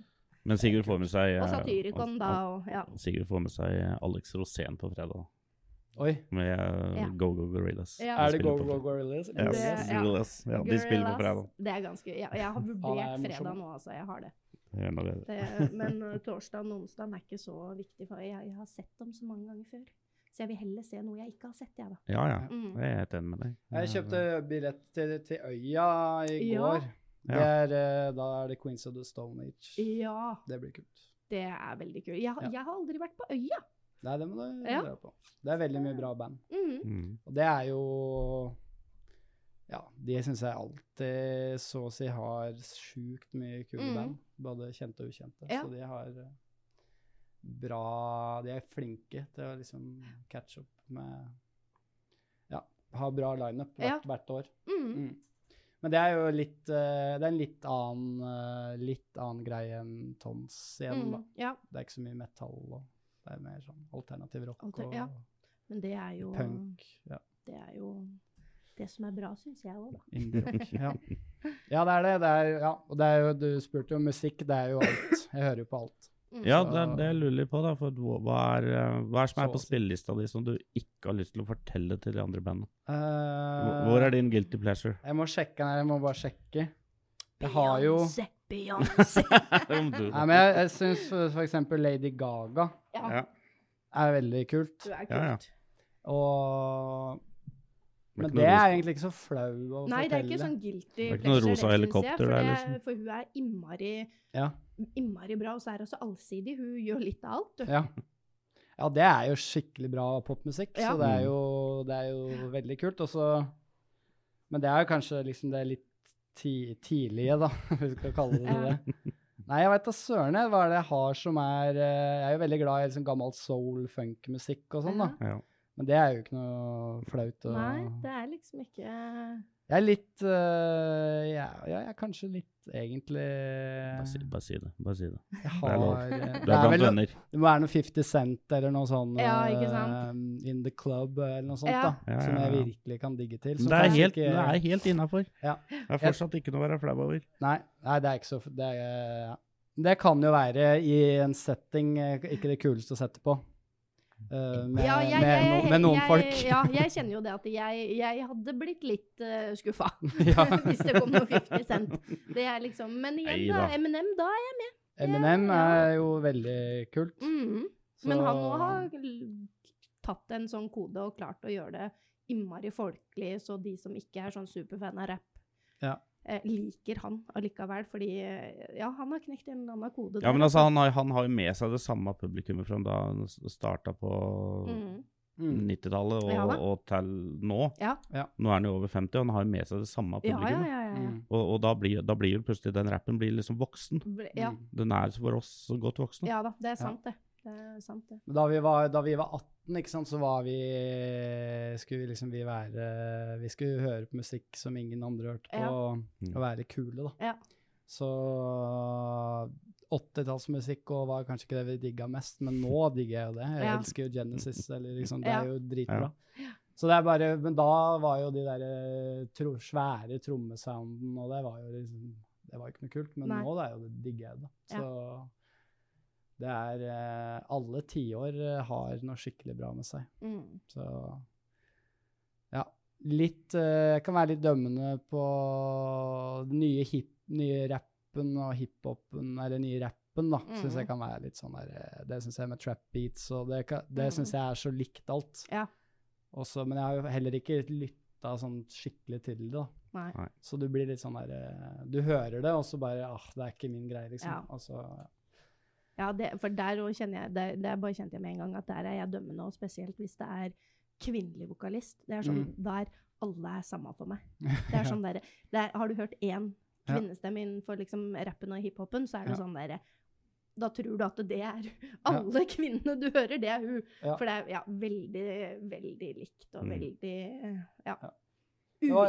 Men Sigurd får med seg eh,
Og Satyricon,
og-
da, og ja.
og Sigurd får med seg eh, Alex Rosén på fredag,
Oi.
med eh,
Ja.
Go Go Gorillas.
Ja.
De
Er det
spiller
Go
på
Go
fredag.
Gorillas?
Ja,
Det-
Yes.
ja.
Gorillas. Ja, de spiller på
Gorillaz,
fredag.
Det er ganske Jeg, jeg har
Ja,
vurdert
det er
fredag
morsomt.
nå, altså. Jeg har det.
Det er noe av det.
det men eh, torsdag og onsdag er ikke så viktig, for jeg, jeg har sett dem så mange ganger før. Så jeg vil heller se noe jeg ikke har sett, jeg, da.
[laughs] Ja, ja.
Mm.
Jeg er helt enig med deg.
Jeg kjøpte billett til, til Øya i
Ja.
går.
Ja.
Det er, eh, da er det Queens of the Stone Age.
Ja,
Det blir kult.
det er veldig kult. Jeg, har-
Ja.
jeg har aldri vært på øya.
Nei, det må du
Ja.
dra på. Det er veldig mye bra band.
Mhm.
Mm.
Og det er jo Ja, de syns jeg alltid så å si har sjukt mye kule
Mm.
band. Både kjente og ukjente.
Ja.
Så de har eh, bra De er flinke til å liksom catche opp med Ja, ha bra lineup
Ja.
hvert, hvert år.
Mhm.
Mm. Men det er jo litt eh, Det er en litt annen, eh, litt annen greie enn Tons igjen,
Mhm.
da.
Ja,
Det er ikke så mye metall og det er mer sånn alternativ rock
Alter-
og
ja. men det er jo
punk.
[laughs]
Ja.
Det er jo det som er bra, syns jeg òg, da. [laughs]
Indie-rock, ja. ja, det er det. det er, ja. Og det er jo, du spurte jo om musikk, det er jo alt. Jeg hører jo på alt.
Mm.
Ja, det er det jeg lurer litt på, da. For hva hva er, eh, hva er som er
Så å
på
si.
spillelista di som du ikke har lyst til å fortelle til de andre bandene?
Eh,
Hvor hvor er din guilty pleasure? [laughs]
Jeg må sjekke den her, jeg må bare sjekke. Jeg har jo
Beyoncé, [laughs] Beyoncé.
Nei, men jeg, jeg syns f.eks. Lady Gaga
ja,
ja,
er veldig kult.
du er kult.
Ja, ja.
Og
men
Men det er egentlig ikke så flau å
Nei, det er ikke
fortelle.
sånn guilty
Det er ikke noe rosa
synes jeg,
helikopter
for
der,
det-
liksom.
For hun er innmari,
Ja.
innmari bra, og så er hun så allsidig. Hun gjør litt av alt. du.
Ja. ja, det er jo skikkelig bra popmusikk,
Ja.
så det
Mm.
er, jo, det er jo veldig kult. Og så- men det er jo kanskje liksom det litt ti, tidlige, da, [laughs] hvis vi skal kalle det
Ja.
det. Nei, jeg veit da søren jeg, hva er det jeg har som er eh, Jeg er jo veldig glad i liksom gammel soul, funk-musikk og sånn, da.
Ja.
Ja.
Men det er jo ikke noe flaut. å-
Nei, det er liksom ikke
Jeg er litt eh, ja, ja, jeg er kanskje litt egentlig
Bare si, bare si det. Bare si det.
Jeg
det er
har
lov.
eh,
Du er
det er
blant
vel-
venner.
Det må være noe 50 Cent eller noe sånn
Ja, ikke
eh,
sant?
In the Club eller noe sånt,
Ja.
da.
Ja, ja,
Som jeg
ja.
virkelig kan digge til.
Men
som
det er
kanskje
helt,
ikke-
det er helt innafor.
Ja.
Det er fortsatt ikke noe å være flau over.
Nei, nei, det er ikke så det, er, eh, ja. det kan jo være i en setting eh, ikke det kuleste å sette på. Eh, med,
Ja, jeg,
med,
jeg,
no, med noen
jeg,
folk.
Ja, jeg kjenner jo det at jeg, jeg hadde blitt litt uh, skuffa
[laughs] Ja.
[laughs] hvis det kom noe 50 cent. Det er liksom, men igjen, da.
Neida.
Eminem, da er
Eminem
Ja.
er jo veldig kult.
jeg mm.
så-
Men han òg har l- tatt en sånn kode og klart å gjøre det innmari folkelig, så de som ikke er sånn superfan av rap,
Ja.
eh, liker han allikevel. Fordi eh, ja, han har knekt en eller annen kode.
Ja,
der,
men altså,
altså.
han har, han har jo med seg det samme publikummet fra da han starta på
Mm.
Mm.
90-tallet og,
Ja da.
og til nå.
Ja.
Ja.
Nå er han jo over 50, og han har jo med seg det samme
Ja, ja,
publikummet.
ja, ja, ja.
Mm.
Og, og da, blir, da blir jo plutselig den rappen blir liksom voksen.
Ble- ja.
Mm.
Den er for oss så godt voksen.
Ja da, det er sant, det. Det er sant, det.
Da vi var, da vi var 18, ikke sant, så var vi Skulle vi liksom vi være Vi skulle høre på musikk som ingen andre hørte på,
Ja.
Mm.
og være kule, da.
Ja.
Så 80-tallsmusikk og var kanskje ikke det vi digga mest, men nå digger jeg jo det. Jeg
Ja.
elsker jo Genesis, eller liksom, det
Ja.
er jo dritbra. Så det er bare, Men da var jo de der eh, tro, svære trommesoundene, og det var jo liksom Det var ikke noe kult, men
Nei.
nå det er jo det digger jeg det. Så det er eh, Alle tiår eh, har noe skikkelig bra med seg.
Mm.
Så ja. Litt eh, Jeg kan være litt dømmende på den nye, hip, nye rappen og hiphopen, eller nye rappen, da. Syns
Mhm.
jeg kan være litt sånn der eh, Det syns jeg med trap beats og Det, kan- det
Mm.
syns jeg er så likt alt.
Ja.
Også, men jeg har jo heller ikke lytta sånn skikkelig til det, da.
Nei.
Så du blir litt sånn der eh, Du hører det, og så bare ah, det er ikke min greie, liksom.
Ja.
Altså, ja.
Ja, det, for der òg kjenner jeg det, det bare kjente jeg med en gang at der er jeg dømmende, og spesielt hvis det er kvinnelig vokalist. Det er sånn
Mm.
der alle er samme
[laughs]
for meg. Det er sånn der, det er, Har du hørt én
Ja.
kvinnestemme innenfor liksom rappen og hiphopen, så er det
Ja.
sånn derre Da tror du at det er alle kvinnene du hører, det er hun.
Ja.
For det er ja, veldig, veldig likt og
Mm.
veldig ja.
Ja.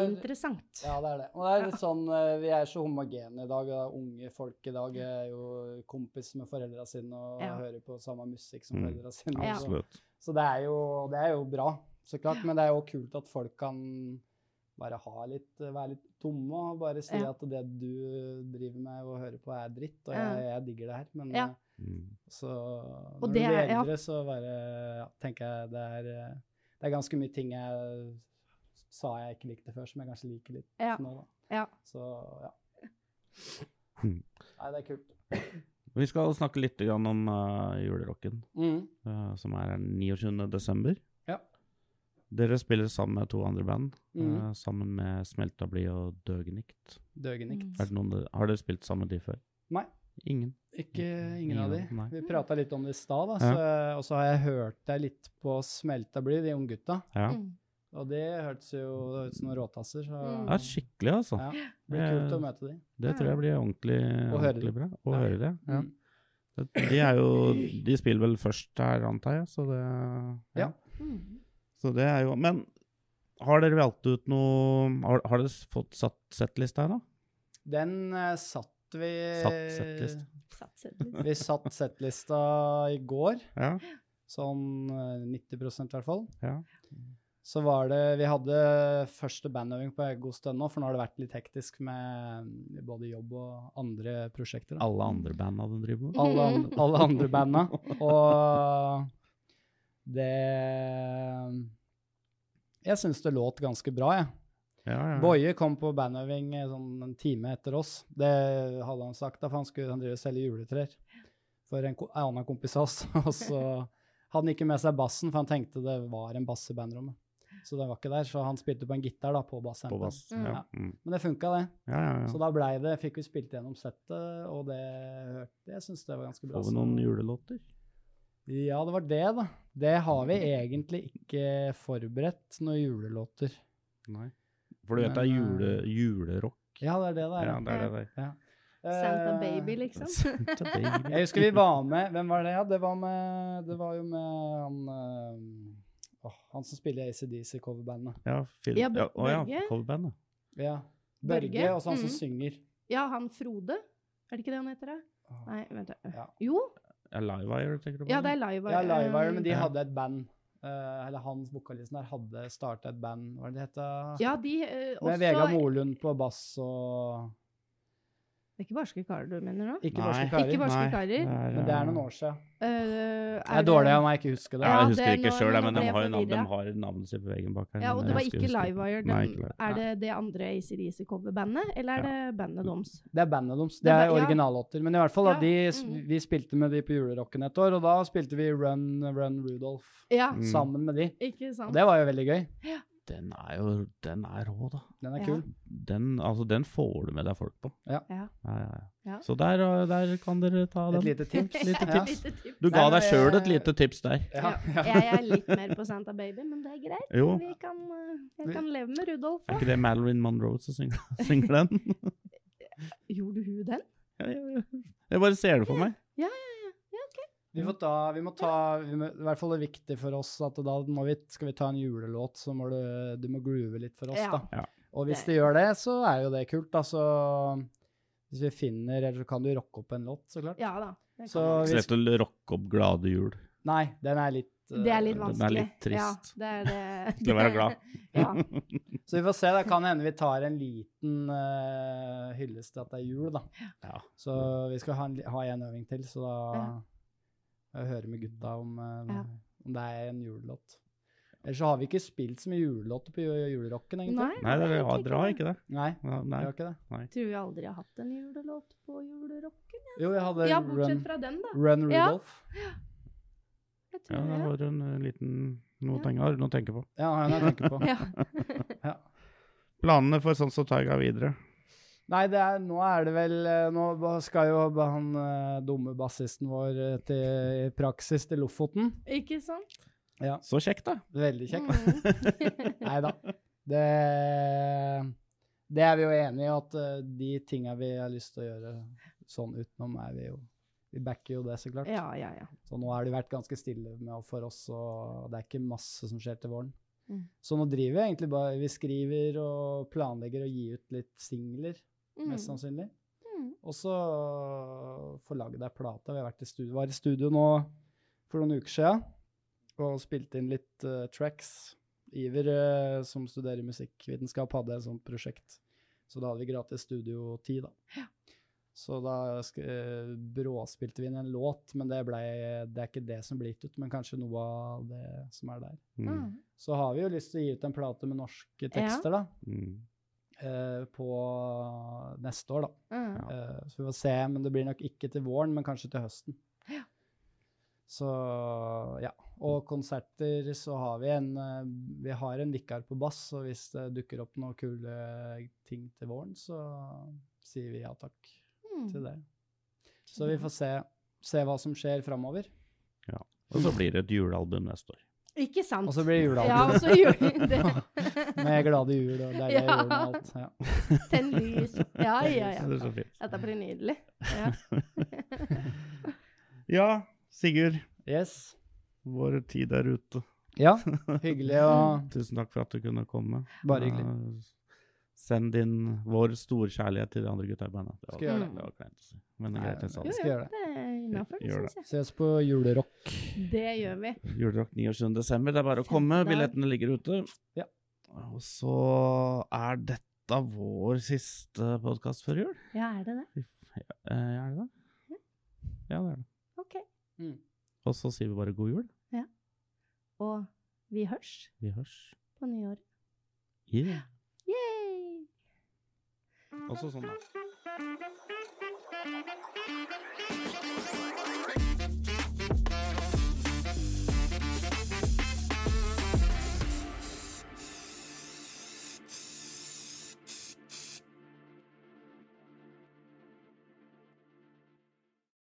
Uinteressant.
Ja, det er det. Og det er litt sånn, eh, Vi er så homogene i dag. og Unge folk i dag er jo kompis med foreldra sine og
Ja.
hører på samme musikk som
Mm.
foreldra sine.
Ja.
Så,
Absolutt.
så det, er jo, det er jo bra, så klart. Men det er jo kult at folk kan bare ha litt, være litt dumme og bare si
Ja.
at det du driver med og hører på, er dritt, og
Ja.
jeg, jeg digger det her. Men
Ja.
eh,
Mm.
så når du
det
blir
er- ja.
eldre, så bare ja, tenker jeg det er, eh, det er ganske mye ting jeg sa jeg ikke likte før, som jeg kanskje liker litt
Ja.
nå, da.
Ja.
Så ja.
Hmm.
Nei, det er kult.
Vi skal snakke litt grann om eh, julerocken, eh, som er den 29. desember.
Ja.
Dere spiller sammen med to andre band, eh,
Mhm.
sammen med Smeltabli og Døgenikt.
Døgenikt.
Mm.
Er det noen, dere- har dere spilt sammen med de før?
Nei.
Ingen?
Ikke Mm. ingen av de.
Nei.
Vi prata litt om det i stad, da, så, og så har jeg hørt deg litt på Smelta blir, de unggutta.
Ja.
Mm.
Og det hørtes jo ut som noen råtasser, så
Mm.
ja, skikkelig, altså.
ja, det blir kult å møte de.
Det tror jeg blir ordentlig,
Å høre
ordentlig
det.
bra å
Ja.
høre det.
Ja.
De er jo De spiller vel først her, antar jeg, så det
Ja.
Mm.
Så det er jo Men har dere valgt ut noe Har, har dere fått satt settlista her, da?
Den eh, satt vi
Satt settlist.
Satser litt.
Vi satt settlista i går,
Ja.
sånn eh, 90 i hvert fall.
ja.
Så var det Vi hadde første bandøving på god stund nå, for nå har det vært litt hektisk med eh, både jobb og andre prosjekter. Da.
Alle andre banda de driver med?
Alle, an alle andre banda. Og det Jeg syns det låt ganske bra, jeg.
Ja, ja.
Boje kom på bandøving eh, sånn en time etter oss. Det hadde han sagt, da, for han skulle han drive og selge juletrær for en, ko en annen kompis av oss. [laughs] Og så hadde han ikke med seg bassen, for han tenkte det var en bass i bandrommet. Så den var ikke der, så han spilte på en gitar da, på
På
bassampen.
bass. Ja.
Ja.
Mm.
Men det funka, det.
ja, ja,
Så
ja.
da blei det Fikk vi spilt gjennom settet, og det hørte Jeg syns det var ganske bra.
Får vi
så-
noen julelåter?
Ja, det var det, da. Det har vi egentlig ikke forberedt noen julelåter.
Nei. For du vet det er
Men,
jule,
eh,
julerock?
Ja, det er det det er.
Ja, det er det der.
Santa
Eh,
Baby, liksom.
Santa
[laughs]
Baby.
Jeg husker vi var med Hvem var det? Ja, det var, med, det var jo med han eh, åh, Han som spiller i ACDC-coverbandet.
Ja, Phil.
Ja,
ja, å, ja,
Børge.
coverbandet.
Ja. Børge, Mm.
Børge,
og så han som
mhm.
synger.
Ja, han Frode. Er det ikke det han heter? da? Nei, vent da.
Ja.
Jo,
Ja, Livewire, tenker du på?
ja, det er Live
Ja, Livewire, men de
Ja.
hadde et band. eh, eller han vokalisten der hadde starta et band, hva er det det heter?
Ja, de eh, også
Med Vegard Molund på bass og
Det er ikke barske karer du mener nå?
Ikke
Nei.
norske
Ikke
karer.
barske
Nei,
karer.
er,
Men det er
eh,
noen år siden.
Eh,
Det
det-
er dårlig av meg ikke huske det.
Ja,
Ja,
jeg husker
det-
ikke
nå-
sjøl,
nå
men de
ble jeg
har, jo navn, de
forvirret.
har navnet sitt på veggen bak her.
Ja, og
men
det
jeg
var
husker
ikke
husker-
Livewire.
Nei,
den-
ikke Live-
Er det det andre ACDC-coverbandet, eller er det bandet deres?
Det er bandet deres.
Det
Det
er
er
ba- ja.
originallåter. Men i hvert fall, da,
Ja,
de, s-
mhm.
vi spilte med de på julerocken et år, og da spilte vi Run, Run Rudolph
Ja,
Mm.
sammen med de.
ikke
Og
sant? [laughs]
det var jo veldig gøy.
Den er jo den er rå, da.
Den
Ja.
er kul.
Den, altså, den får du med deg folk på.
Ja.
Ja, ja, ja.
Ja.
Så der, eh, der kan dere ta
Et
den.
lite
[laughs]
tips.
Lite
Ja.
tips.
Lite tips.
Du ga
Nei, men
deg sjøl et
eh,
det-
lite tips der.
Ja.
Ja. Jeg er litt mer på Santa Baby, men det er greit.
Jo,
Vi kan, eh, jeg kan leve med Rudolf.
er ikke det Madeline Monroe som synger, [laughs] synger den?
Gjorde hun den?
Ja, ja, ja. Jeg bare ser det for meg.
Vi, får ta, vi må ta vi må, I hvert fall det er viktig for oss at da må vi, skal vi ta en julelåt, så må du, du må groove litt for oss,
Ja.
da.
Ja.
Og hvis
Det-
du gjør det, så er jo det kult, da. Så hvis vi finner Eller så kan du rocke opp en låt, så klart.
Ja da. det kan
Så
man.
hvis,
Slett å rocke opp Glade jul.
Nei, den er litt eh,
det er litt
den er
vanskelig.
litt trist.
Ja, det er det.
Til å være glad.
[laughs] Ja.
Så vi får se. Det kan hende vi tar en liten eh, hyllest til at det er jul, da.
Ja.
Så vi skal ha en, li- ha en øving til, så da
Ja.
jeg hører med gutta om, eh,
Ja.
om det er en julelåt. Ellers så har vi ikke spilt så mye julelåter på ju- julerocken, egentlig.
Nei,
[laughs] Nei, dere har, dere har
det.
ikke det.
Nei,
Ja, Nei.
vi har ikke det.
Tror vi aldri har hatt en julelåt på julerocken.
Jo, vi hadde
Ja,
Run,
bortsett fra den, da.
Run
Ja.
Rudolph.
Jeg
Ja,
tror
det
det.
var en eh, liten noe
Ja.
tenk- har du noe å tenke på.
Ja, han jeg tenker på.
[laughs] Ja.
Planene for sånn som Taiga videre.
Nei, det er, nå er det vel eh, Nå ba- skal jo ba- han eh, dumme bassisten vår eh, til, i praksis til Lofoten.
Ikke sant?
Så kjekt, da.
Veldig kjekt. [laughs]
Mm.
Nei da. Det, det er vi jo enige i, at eh, de tinga vi har lyst til å gjøre sånn utenom, er vi jo Vi backer jo det, så klart.
Ja, ja, ja.
Så nå har det vært ganske stille med og for oss, og det er ikke masse som skjer til våren.
Mm.
Så nå driver vi egentlig bare Vi skriver og planlegger å gi ut litt singler,
Mm.
mest sannsynlig.
Mm.
Og så få lage deg plate. Vi har vært i studio, var i studio nå for noen uker siden og spilte inn litt eh, tracks. Iver, eh, som studerer musikkvitenskap, hadde et sånt prosjekt. Så da hadde vi gratis studiotid, da. Så da sk eh, bråspilte vi inn en låt, men det, ble, det er ikke det som blir gitt ut, men kanskje noe av det som er der.
Mm.
Mm.
Så har vi jo lyst til å gi ut en plate med norske tekster, da.
Mm.
eh, På neste år, da.
Mm.
Ja.
Eh, Så vi får se, men det blir nok ikke til våren, men kanskje til høsten.
Ja.
Så ja. Og konserter så har vi en eh, Vi har en vikar på bass, og hvis det dukker opp noen kule ting til våren, så sier vi ja takk
Mm.
til det. Så vi får se, se hva som skjer framover.
Og så blir det et julealbum neste år.
Ikke sant?
Og så blir det
Ja,
julealbum
og så gjør det.
[laughs] med glade jul og deilige
Ja.
jul og alt. Ja.
[laughs] Tenn lys. Ja, ja, ja.
Så Det er så fint.
Dette blir nydelig.
[laughs]
Ja.
Ja, Sigurd.
Yes.
Vår tid er ute.
Ja, hyggelig å
Tusen takk for at du kunne komme.
Bare hyggelig.
Ja, send din vår store kjærlighet til de andre gutta i bandet. Det var,
Skal gjøre det.
det var kleint å si, men det er greit jeg sa
Jo,
det.
Skal
jo,
gjøre det.
det er innafor, det
Gjør
syns jeg.
Ses på julerock.
Det gjør vi.
Julerock 29. desember, det er bare å komme.
Kjempedag.
Billettene ligger ute.
Ja.
Og så er dette vår siste podkast før jul.
Ja, er det det?
Eh, er det det? Ja, det er det.
OK. Mm.
Og så sier vi bare god jul.
Og vi hørs
Vi hørs.
på nyåret.
Yeah.
Yay!
Og så sånn, da.